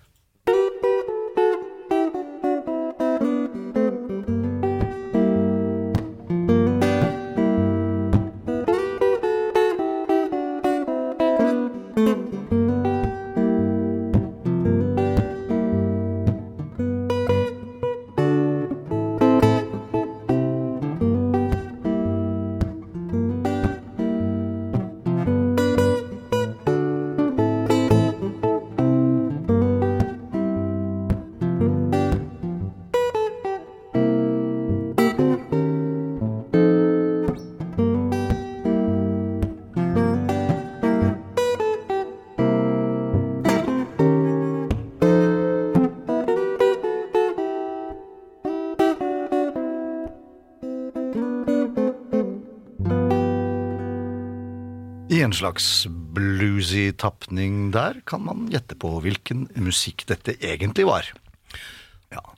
S3: I en slags bluesy tapning der kan man gjette på hvilken musikk dette egentlig var.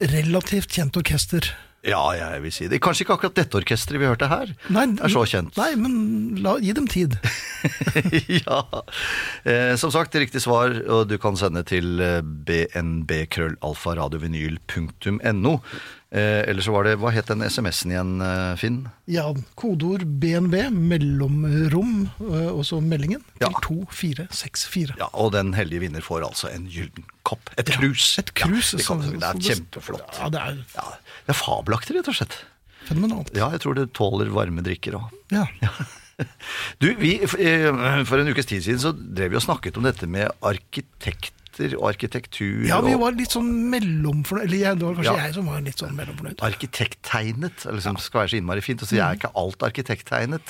S2: Relativt kjent orkester.
S3: Ja, jeg vil si det. Kanskje ikke akkurat dette orkesteret vi hørte her,
S2: Nei,
S3: er så kjent.
S2: Nei, men la, gi dem tid.
S3: ja. eh, som sagt, riktig svar og du kan sende til eh, bnbkrøllalfaradiovinyl.no. Eh, eller så var det Hva het den SMS-en igjen, eh, Finn?
S2: Ja, kodeord BNB, mellomrom, øh, og så meldingen
S3: Ja.
S2: til 2464.
S3: Ja, Og den heldige vinner får altså en gyllen kopp. Et krus.
S2: Et krus.
S3: Ja, det,
S2: som-
S3: kan, det er
S2: som
S3: kjempeflott.
S2: Ja, det er
S3: Ja, det er fabelaktig, rett og slett.
S2: fenomenalt.
S3: Ja, jeg tror det tåler varme drikker òg.
S2: Ja.
S3: Du, vi, f- eh, For en ukes tid siden så drev vi og snakket om dette med arkitekter og arkitektur.
S2: ja, vi
S3: og-
S2: var litt sånn mellomfornøyd. Eller jeg, det var kanskje
S3: Ja.
S2: jeg som var litt sånn mellomfornøyd.
S3: arkitekttegnet. eller Som skal være så innmari fint. Og så jeg
S2: Mm.
S3: er ikke alt arkitekttegnet.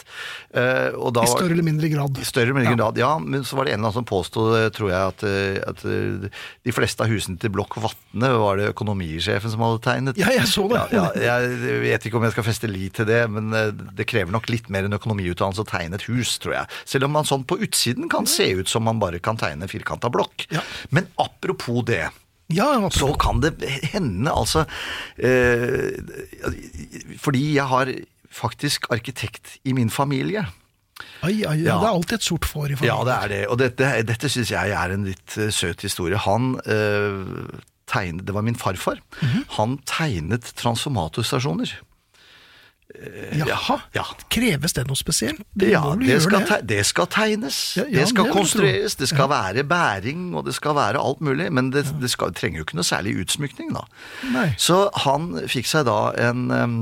S3: Eh, og da,
S2: I større eller mindre grad.
S3: I større eller mindre grad, ja. Men så var det en eller annen som påstod, eh, tror jeg, at, eh, at eh, de fleste av husene til Blokk Vatne var det økonomisjefen som hadde tegnet.
S2: Ja, jeg så det.
S3: Ja, ja, jeg vet ikke om jeg skal feste lit til det, men eh, det krever nok litt mer enn økonomiutdannelse å tegne et hus, tror jeg. Selv om man sånn på utsiden kan se ut som man bare kan tegne firkanta blokk.
S2: Ja.
S3: Men apropos det.
S2: Ja,
S3: Så kan det hende, altså eh, Fordi jeg har faktisk arkitekt i min familie.
S2: ai, ai,
S3: Ja.
S2: Det er alltid et sort får i
S3: Ja,
S2: familien.
S3: det er det. Og dette, dette syns jeg er en litt eh, søt historie. Han eh, tegnet Det var min farfar.
S2: Mhm.
S3: Han tegnet transformatorstasjoner.
S2: Jaha.
S3: Ja.
S2: Kreves det noe spesielt? Du
S3: Ja,
S2: må vel
S3: det
S2: gjøre
S3: skal, te det skal tegnes,
S2: Ja, ja,
S3: det skal
S2: det vil jeg tro.
S3: konstrueres, det skal være bæring, og det skal være alt mulig, men det, det skal, trenger jo ikke noe særlig utsmykning, da.
S2: Nei.
S3: Så han fikk seg da en, em,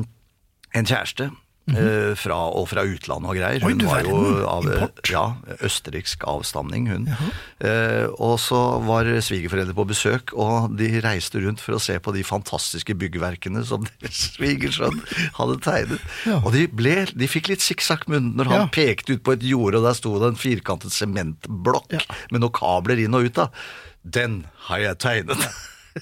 S3: en kjæreste. eh, fra, og fra utlandet og greier.
S2: Mhm. Oi,
S3: Hun
S2: du
S3: var jo
S2: verden.
S3: av eh, ja, østerriksk avstamning, hun. Eh, og så var svigerforeldre på besøk, og de reiste rundt for å se på de fantastiske byggverkene som deres svigersønn hadde tegnet.
S2: Ja.
S3: Og de, ble, de fikk litt sikksakkmunn når han
S2: Ja.
S3: pekte ut på et jorde, og der sto det en firkantet sementblokk
S2: Ja.
S3: med noen kabler inn og ut av. Den har jeg tegnet!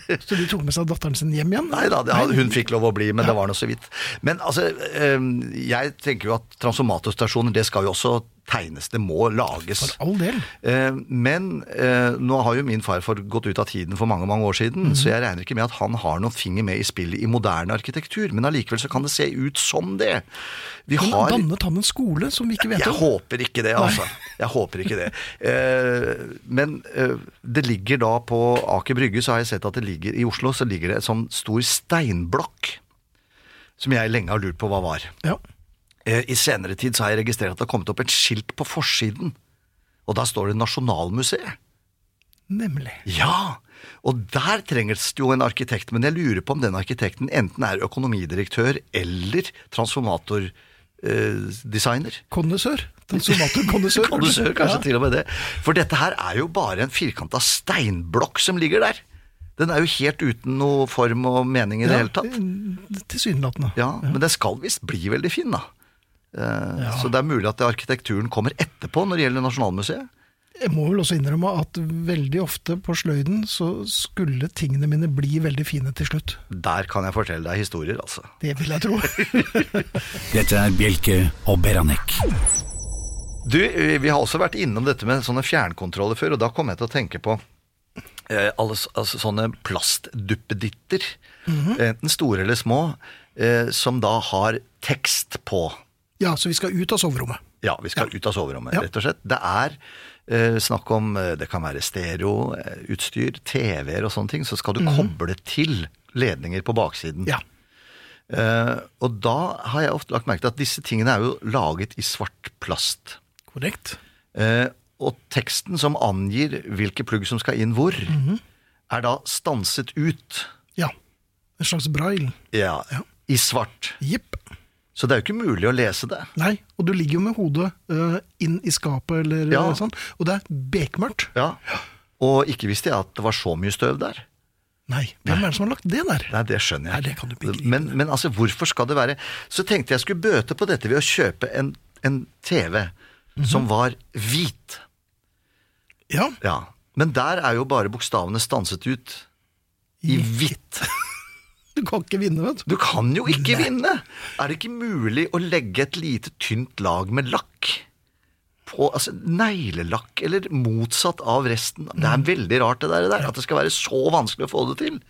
S2: Så de tok med seg datteren sin hjem igjen?
S3: Nei da, det, hadde- hun fikk lov å bli, men ehm, det var nå så vidt. Men altså, eh, jeg tenker jo at transformatorstasjoner, det skal jo også tegnes, det må lages.
S2: For all del.
S3: Eh, Men eh, nå har jo min farfar gått ut av tiden for mange mange år siden,
S2: Mhm.
S3: så jeg regner ikke med at han har noen finger med i spillet i moderne arkitektur, men allikevel så kan det se ut som det. Vi
S2: Men
S3: har
S2: dannet han en skole som vi ikke vet
S3: jeg
S2: om?
S3: håper ikke det, altså. Jeg håper ikke det. Eh, men eh, det ligger da på Aker Brygge, så har jeg sett at det ligger i Oslo, så ligger det en sånn stor steinblokk som jeg lenge har lurt på hva var.
S2: Ja.
S3: Eh, I senere tid så har jeg registrert at det har kommet opp et skilt på forsiden, og da står det Nasjonalmuseet.
S2: Nemlig.
S3: Ja, og der trenges det jo en arkitekt, men jeg lurer på om den arkitekten enten er økonomidirektør eller eh, transformatordesigner.
S2: Kondisør. Transformator-kondisør.
S3: Kondisør, kanskje til og med det. For dette her er jo bare en firkanta steinblokk som ligger der. Den er jo helt uten noe form og mening i det hele tatt.
S2: Tilsynelatende.
S3: Ja, Men den skal visst bli veldig fin, da. Eh, Så det er mulig at arkitekturen kommer etterpå når det gjelder Nasjonalmuseet.
S2: Jeg må vel også innrømme at veldig ofte på sløyden så skulle tingene mine bli veldig fine til slutt.
S3: Der kan jeg fortelle deg historier, altså.
S2: Det vil jeg tro.
S4: Dette er Bjelke og Beranek.
S3: Du, eh, vi har også vært innom dette med sånne fjernkontroller før, og da kom jeg til å tenke på eh, alle, s- altså, sånne plastduppeditter, Eh, enten store eller små, eh, som da har tekst på.
S2: Ja, så vi skal ut av soverommet.
S3: Ja, vi skal ut av soverommet,
S2: Ja.
S3: rett og slett. Det er eh, snakk om eh, Det kan være eh, stereoutstyr, TV-er og sånne ting, så skal du koble til ledninger på baksiden.
S2: Ja.
S3: Eh, og da har jeg ofte lagt merke til at disse tingene er jo laget i svart plast.
S2: Korrekt.
S3: Eh, og teksten som angir hvilke plugg som skal inn hvor, er da stanset ut
S2: Ja. En slags braille.
S3: ja, i svart.
S2: Jepp.
S3: Så det er jo ikke mulig å lese det.
S2: Nei, og du ligger jo med hodet øh, inn i skapet eller
S3: Ja.
S2: øh, sånn, og det er bekmørkt.
S3: Ja. Og ikke visste jeg at det var så mye støv der.
S2: Nei, hvem er det som har lagt det der?
S3: Nei, det skjønner jeg.
S2: Nei, det kan du ikke begripe.
S3: men, men altså, hvorfor skal det være Så tenkte jeg skulle bøte på dette ved å kjøpe en, en TV
S2: Mhm.
S3: som var hvit.
S2: Ja,
S3: Ja. Men der er jo bare bokstavene stanset ut i hvitt.
S2: du kan ikke vinne, vet du.
S3: Du kan jo ikke vinne! Er det ikke mulig å legge et lite tynt lag med lakk? På, altså, neglelakk, eller motsatt av resten. Det
S2: Mhm.
S3: er veldig rart det der, det der, at det skal være så vanskelig å få det til.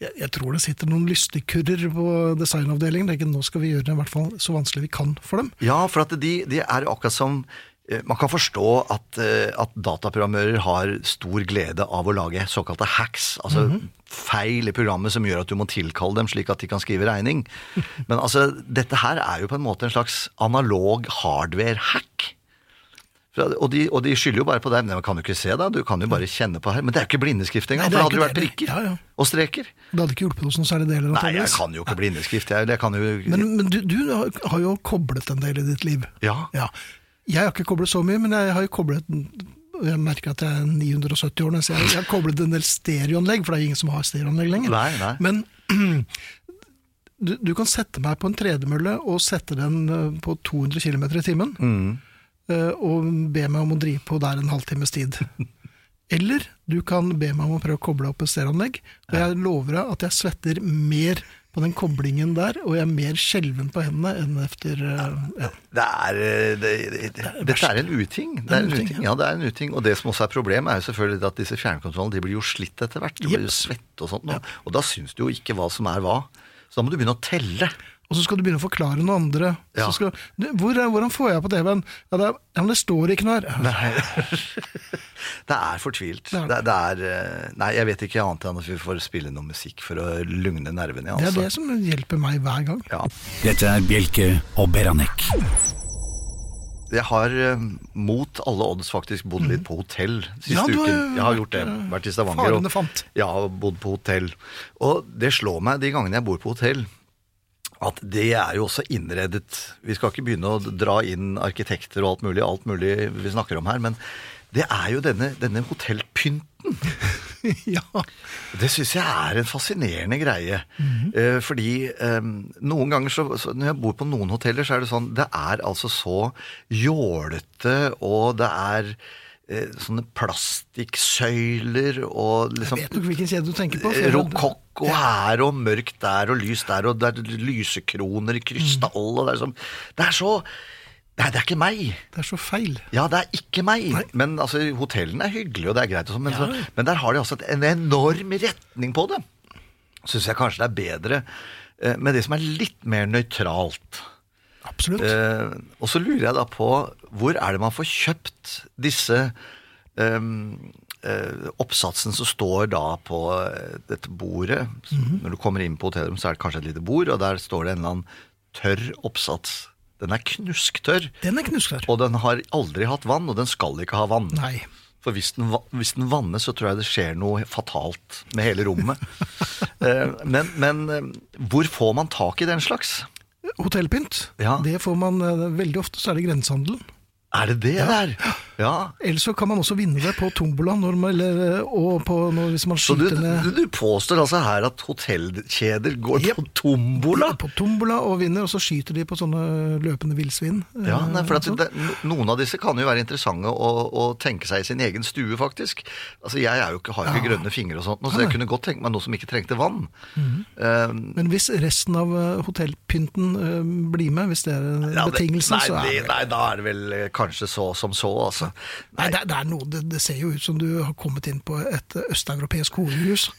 S2: Jeg, jeg tror det sitter noen lystigkurrer på designavdelingen. Tenker, nå skal vi gjøre det i hvert fall så vanskelig vi kan for dem.
S3: Ja, for at de, de er akkurat som eh, Man kan forstå at, eh, at dataprogrammører har stor glede av å lage såkalte hacks, altså
S2: Mhm.
S3: feil i programmet som gjør at du må tilkalle dem slik at de kan skrive regning. Men altså, dette her er jo på en måte en slags analog hardware-hack. For- Og de, og de skylder jo bare på deg. Men man kan jo ikke se deg, du kan jo bare kjenne på her. Men det er jo ikke blindeskrift engang,
S2: Nei, det
S3: for da
S2: er
S3: hadde det vært
S2: ikke det.
S3: prikker
S2: Ja, ja.
S3: og streker.
S2: Det hadde ikke hjulpet oss noe særlig deler.
S3: Nei, jeg
S2: antageligvis.
S3: kan jo ikke blindeskrift. Jeg, jeg kan jo
S2: Men, men du, du har jo koblet en del i ditt liv.
S3: Ja.
S2: Jeg har ikke koblet så mye, men jeg har jo koblet Jeg merker at jeg er 970 år, nå, så jeg jeg har koblet en del stereoanlegg, for det er ingen som har stereoanlegg lenger.
S3: Nei, nei.
S2: Men du, du kan sette meg på en tredemølle og sette den eh, på 200 km i timen,
S3: Mm.
S2: eh, og be meg om å drive på der en halvtimes tid. Eller du kan be meg om å prøve å koble opp et stereoanlegg. Og jeg lover deg at jeg svetter mer på den koblingen der, og jeg er mer skjelven på hendene enn efter eh, ja.
S3: Det er, eh, det, det, dette er en uting. Det er en uting, ja. det er en uting. Og det som også er problemet, er jo selvfølgelig at disse fjernkontrollene de blir jo slitt etter hvert. Du blir jo svett og sånt. nå. Og da syns du jo ikke hva som er hva. Så da må du begynne å telle.
S2: Og så skal du begynne å forklare noen andre.
S3: Ja.
S2: Så skal, du, hvor, er- 'Hvordan får jeg på TV-en?' Ja, det, er- ja, men det står ikke noe her.
S3: Det er fortvilt.
S2: Det er
S3: Det, det er, eh, nei, jeg vet ikke annet enn at vi får spille noe musikk for å lugne nervene.
S2: Det
S3: Altså.
S2: er det som hjelper meg hver gang.
S3: Ja.
S4: Dette er Bjelke og Beranek.
S3: Jeg har eh, mot alle odds faktisk bodd litt på hotell siste
S2: Mm. Ja, du har jo
S3: uken. Jeg har gjort det.
S2: vært, eh,
S3: Vært i Stavanger.
S2: farene fant.
S3: Ja, bodd på hotell. Og det slår meg de gangene jeg bor på hotell, at det er jo også innredet Vi skal ikke begynne å dra inn arkitekter og alt mulig, alt mulig vi snakker om her, men det er jo denne, denne hotellpynten.
S2: ja.
S3: Det syns jeg er en fascinerende greie.
S2: Mhm.
S3: Eh, fordi eh, noen ganger så, så Når jeg bor på noen hoteller, så er det sånn Det er altså så jålete, og det er eh, sånne plastikksøyler og liksom
S2: Vet nok hvilken kjede du tenker på. for-
S3: Rokokk og her og mørkt der og lys der, og det er lysekroner i krystall og det er, liksom, det er så Nei, det er ikke meg.
S2: Det er så feil.
S3: Ja, det er ikke meg. Men altså, hotellene er hyggelige, og det er greit. Og sånn, men, så, men der har de også et, en enorm retning på det. Syns jeg kanskje det er bedre eh, med det som er litt mer nøytralt.
S2: Absolutt.
S3: Eh, og så lurer jeg da på hvor er det man får kjøpt disse ehm, eh, oppsatsen som står da på eh, dette bordet. Så Når du kommer inn på hotellrom, så er det kanskje et lite bord, og der står det en eller annen tørr oppsats. Den er knusktørr,
S2: Den er knusktørr.
S3: og den har aldri hatt vann, og den skal ikke ha vann.
S2: Nei.
S3: For hvis den, va- hvis den vannes, så tror jeg det skjer noe fatalt med hele rommet. Eh, men men eh, hvor får man tak i den slags?
S2: Hotellpynt,
S3: Ja.
S2: det får man eh, veldig ofte, så er det grensehandelen.
S3: Er det det der? Ja,
S2: Eller så kan man også vinne det på tombola når man, eller, og på, når, hvis man
S3: Så du,
S2: skyter ned
S3: du, du påstår altså her at hotellkjeder går på tombola?
S2: på tombola og vinner, og så skyter de på sånne løpende villsvin. eh,
S3: Ja, nei, for at
S2: og sånt.
S3: det, no- Noen av disse kan jo være interessante å, å tenke seg i sin egen stue, faktisk. Altså, Jeg er jo ikke, har jo ikke grønne fingre, og sånt, nå, så jeg kunne godt tenke meg noe som ikke trengte vann.
S2: Mhm.
S3: Eh,
S2: Men hvis resten av eh, hotellpynten eh, blir med, hvis det er eh,
S3: ja, det-
S2: betingelsen,
S3: nei,
S2: så er det,
S3: det, nei, da er det vel eh, kanskje så som så, altså.
S2: Nei, det, det er noe, det, det ser jo ut som du har kommet inn på et eh, østeuropeisk horehus.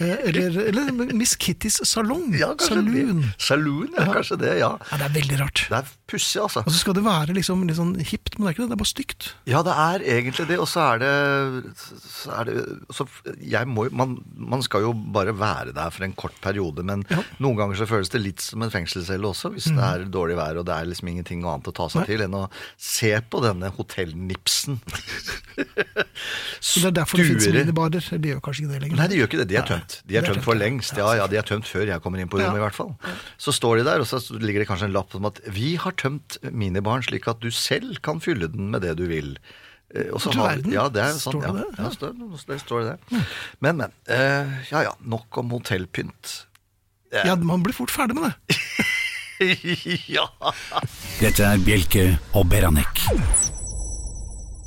S2: Eh, Eller, eller Miss Kittys salong.
S3: Ja, kanskje
S2: Saloon.
S3: Det. Saloon, ja, kanskje det, ja.
S2: Ja, det er veldig rart.
S3: Det er pussig, altså.
S2: Og så skal det være liksom, litt sånn hipt, men det er ikke det. Det er bare stygt.
S3: Ja, det er egentlig det, og så er det, så er det så jeg må, jo- man, man skal jo bare være der for en kort periode, men noen ganger så føles det litt som en fengselscelle også, hvis det er dårlig vær og det er liksom ingenting annet å ta seg til enn å se på denne hotellnipsen.
S2: Så det er derfor det finnes
S3: Stuere.
S2: minibarer. De gjør kanskje ikke det lenger.
S3: Nei, de gjør ikke det. De er tømt. De er tømt for lengst. Ja, ja, de er tømt før jeg kommer inn på rommet, i hvert fall. Så står de der, og så ligger det kanskje en lapp om at 'vi har tømt minibaren slik at du selv kan fylle den med det du vil'. Eh, Og så
S2: Du
S3: har-
S2: verden.
S3: Ja, det er sånn,
S2: Står det
S3: ja.
S2: det?
S3: Ja, står, der står det det. Men, men. eh, ja ja, nok om hotellpynt.
S2: Ja, Man blir fort ferdig med det.
S3: ja!
S4: Dette er Bjelke og Beranek.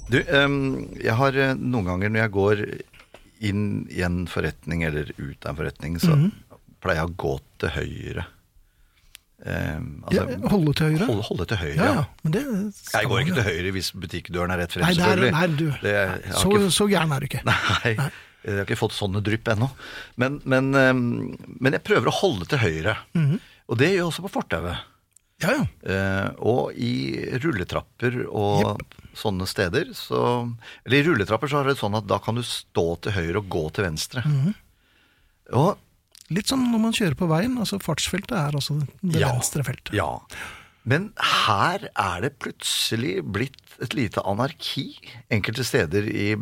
S3: Du, ehm, jeg har eh, noen ganger når jeg går inn i en forretning eller ut av en forretning, så pleier jeg å gå til høyre. Ehm,
S2: Ja, Altså, holde til høyre?
S3: Holde, holde til høyre,
S2: Ja,
S3: ja.
S2: ja. Men det
S3: Jeg går ikke til høyre hvis butikkdøren er rett frem,
S2: Nei, der,
S3: selvfølgelig.
S2: der, du.
S3: Det, jeg har
S2: så,
S3: ikke,
S2: så gæren er du ikke.
S3: nei, jeg har ikke fått sånne drypp ennå. Men, men, ehm, men jeg prøver å holde til høyre.
S2: Mhm.
S3: Og det gjør jeg også på fortauet.
S2: Ja, ja.
S3: Eh, og i rulletrapper og sånne steder så Eller i rulletrapper så er det sånn at da kan du stå til høyre og gå til venstre.
S2: Mhm.
S3: Og,
S2: Litt som når man kjører på veien. altså Fartsfeltet er altså det
S3: Ja.
S2: venstre feltet.
S3: ja. Men her er det plutselig blitt et lite anarki enkelte steder i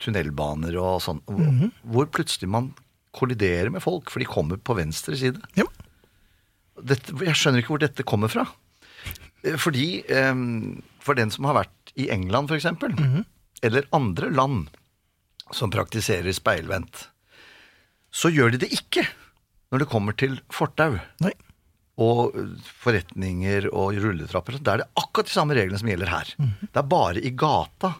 S3: tunnelbaner og sånn, hvor-
S2: Mhm.
S3: hvor plutselig man kolliderer med folk, for de kommer på venstre side.
S2: Ja.
S3: dette, jeg skjønner ikke hvor dette kommer fra. Eh, Fordi eh, for den som har vært i England, for eksempel,
S2: Mhm.
S3: eller andre land som praktiserer speilvendt, så gjør de det ikke når det kommer til fortau
S2: Nei.
S3: og eh, forretninger og rulletrapper. Da er det akkurat de samme reglene som gjelder her.
S2: Mhm.
S3: Det er bare i gata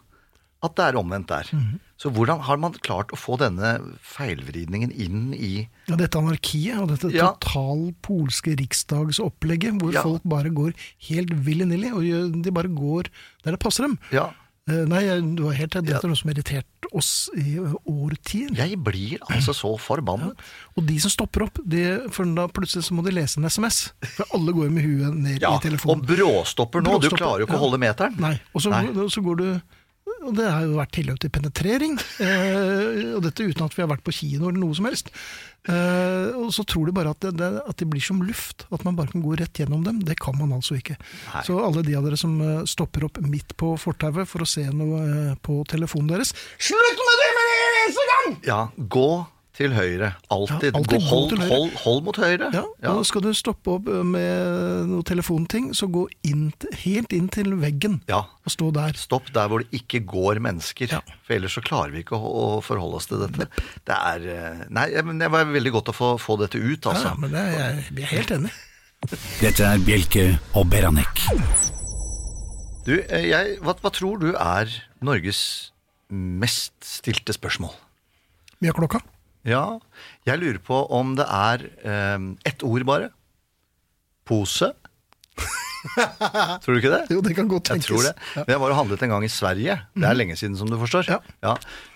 S3: at det er omvendt der.
S2: Mhm.
S3: Så hvordan har man klart å få denne feilvridningen inn i
S2: Ja, dette anarkiet og dette
S3: Ja.
S2: total polske riksdagsopplegget, hvor
S3: Ja.
S2: folk bare går helt villy-nilly, og gjør- de bare går der det passer dem.
S3: Ja,
S2: Eh, Nei, jeg- du har helt rett. Dette er noe som har irritert oss i eh, årtier.
S3: jeg blir altså så forbannet.
S2: Og de som stopper opp, de, for da plutselig så må de lese en SMS. For alle går med huet ned
S3: Ja,
S2: i telefonen.
S3: og bråstopper nå. Du
S2: Bråstopper,
S3: klarer jo ikke å
S2: ja.
S3: holde meteren.
S2: Nei, og så,
S3: Nei.
S2: så går du og Det har jo vært tilløp til penetrering, eh, og dette uten at vi har vært på kino eller noe som helst. Eh, og så tror de bare at det, det, at de blir som luft, at man bare kan gå rett gjennom dem. Det kan man altså ikke. Så alle de av dere som eh, stopper opp midt på fortauet for å se noe eh, på telefonen deres
S3: Ja, gå til høyre. Alltid.
S2: Ja, alltid
S3: gå,
S2: gå
S3: hold,
S2: til høyre.
S3: hold, hold mot høyre.
S2: ja, Og skal du stoppe opp eh, med noe telefonting, så gå inn, til- helt inn til veggen
S3: Ja.
S2: og stå der.
S3: Stopp der hvor det ikke går mennesker.
S2: Ja.
S3: For ellers så klarer vi ikke å, å forholde oss til dette. Det er eh, Nei, men det var veldig godt å få, få dette ut,
S2: Ja,
S3: altså.
S2: men det, jeg, jeg er helt enig.
S4: Dette er Bjelke og Beranek.
S3: Du, eh, jeg, hva, hva tror du er Norges mest stilte spørsmål?
S2: Mye av klokka.
S3: Ja, jeg lurer på om det er eh, ett ord bare. Pose. Tror du ikke det?
S9: Jo, det kan godt
S3: Jeg
S9: tenkes. Mhm.
S3: tror det. Men jeg var og handlet en gang i Sverige. Det er lenge siden, som du forstår.
S9: Ja.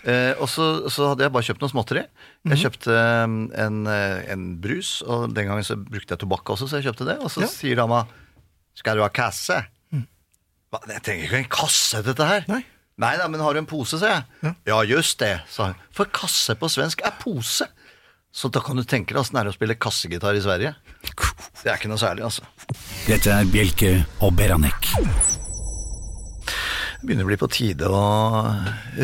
S3: Eh, og så, så hadde jeg bare kjøpt noe småtteri.
S9: Mhm.
S3: Jeg kjøpte eh, en, eh, en brus, og den gangen så brukte jeg tobakk også, så jeg kjøpte det. Og
S9: Ja.
S3: så
S9: Mhm.
S3: sier dama 'Skal du ha kasse?' Hva, Jeg trenger ikke en kasse til dette her.
S9: Nei.
S3: Nei da, men har du en pose, sa jeg. Ja, just det, sa hun. For kasse på svensk er pose. Så da kan du tenke deg åssen det er å spille kassegitar i Sverige. Det er ikke noe særlig, altså.
S4: Dette er Bjelke og Beranek.
S3: Det begynner å bli på tide å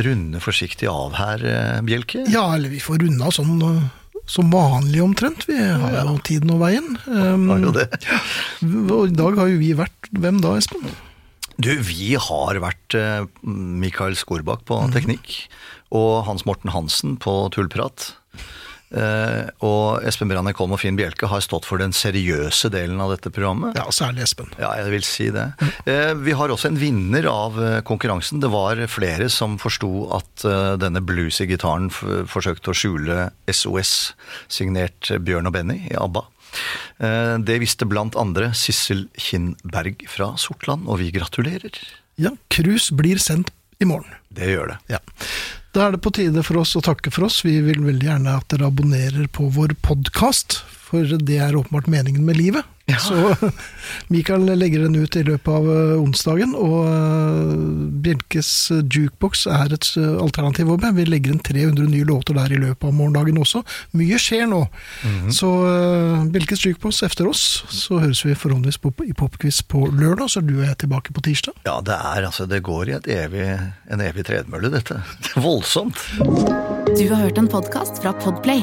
S3: runde forsiktig av her, eh, Bjelke.
S2: Ja, eller vi får runde av sånn øh, som vanlig omtrent. Vi har jo tiden og veien. Um,
S3: Har jo det.
S2: og I dag har jo vi vært Hvem da, Espen?
S3: Du, vi har vært eh, Mikael Skorbakk på teknikk, og Hans Morten Hansen på tullprat. Eh, og Espen Brann Ekholm og Finn Bjelke har stått for den seriøse delen av dette programmet.
S2: Ja, særlig Espen.
S3: Ja, jeg vil si det. Eh, Vi har også en vinner av eh, konkurransen. Det var flere som forsto at eh, denne bluesy gitaren f- forsøkte å skjule SOS, signert Bjørn og Benny i ABBA. Eh, Det visste blant andre Sissel Kinnberg fra Sortland, og vi gratulerer.
S2: Ja, Krus blir sendt i morgen.
S3: Det gjør det.
S2: Ja. Da er det på tide for oss å takke for oss. Vi vil veldig gjerne at dere abonnerer på vår podkast, for det er åpenbart meningen med livet. Så Mikael legger den ut i løpet av eh, onsdagen, og eh, Bjelkes eh, jukebox er et eh, alternativ òg. Vi legger inn 300 nye låter der i løpet av morgendagen også. Mye skjer nå. Så eh, Bjelkes jukebox efter oss, så høres vi forhåpentligvis på, i Popquiz på lørdag, så er du og jeg tilbake på tirsdag.
S3: Ja, det er altså Det går i et evig, en evig tredemølle, dette. Det er voldsomt.
S10: Du har hørt en podcast fra Podplay.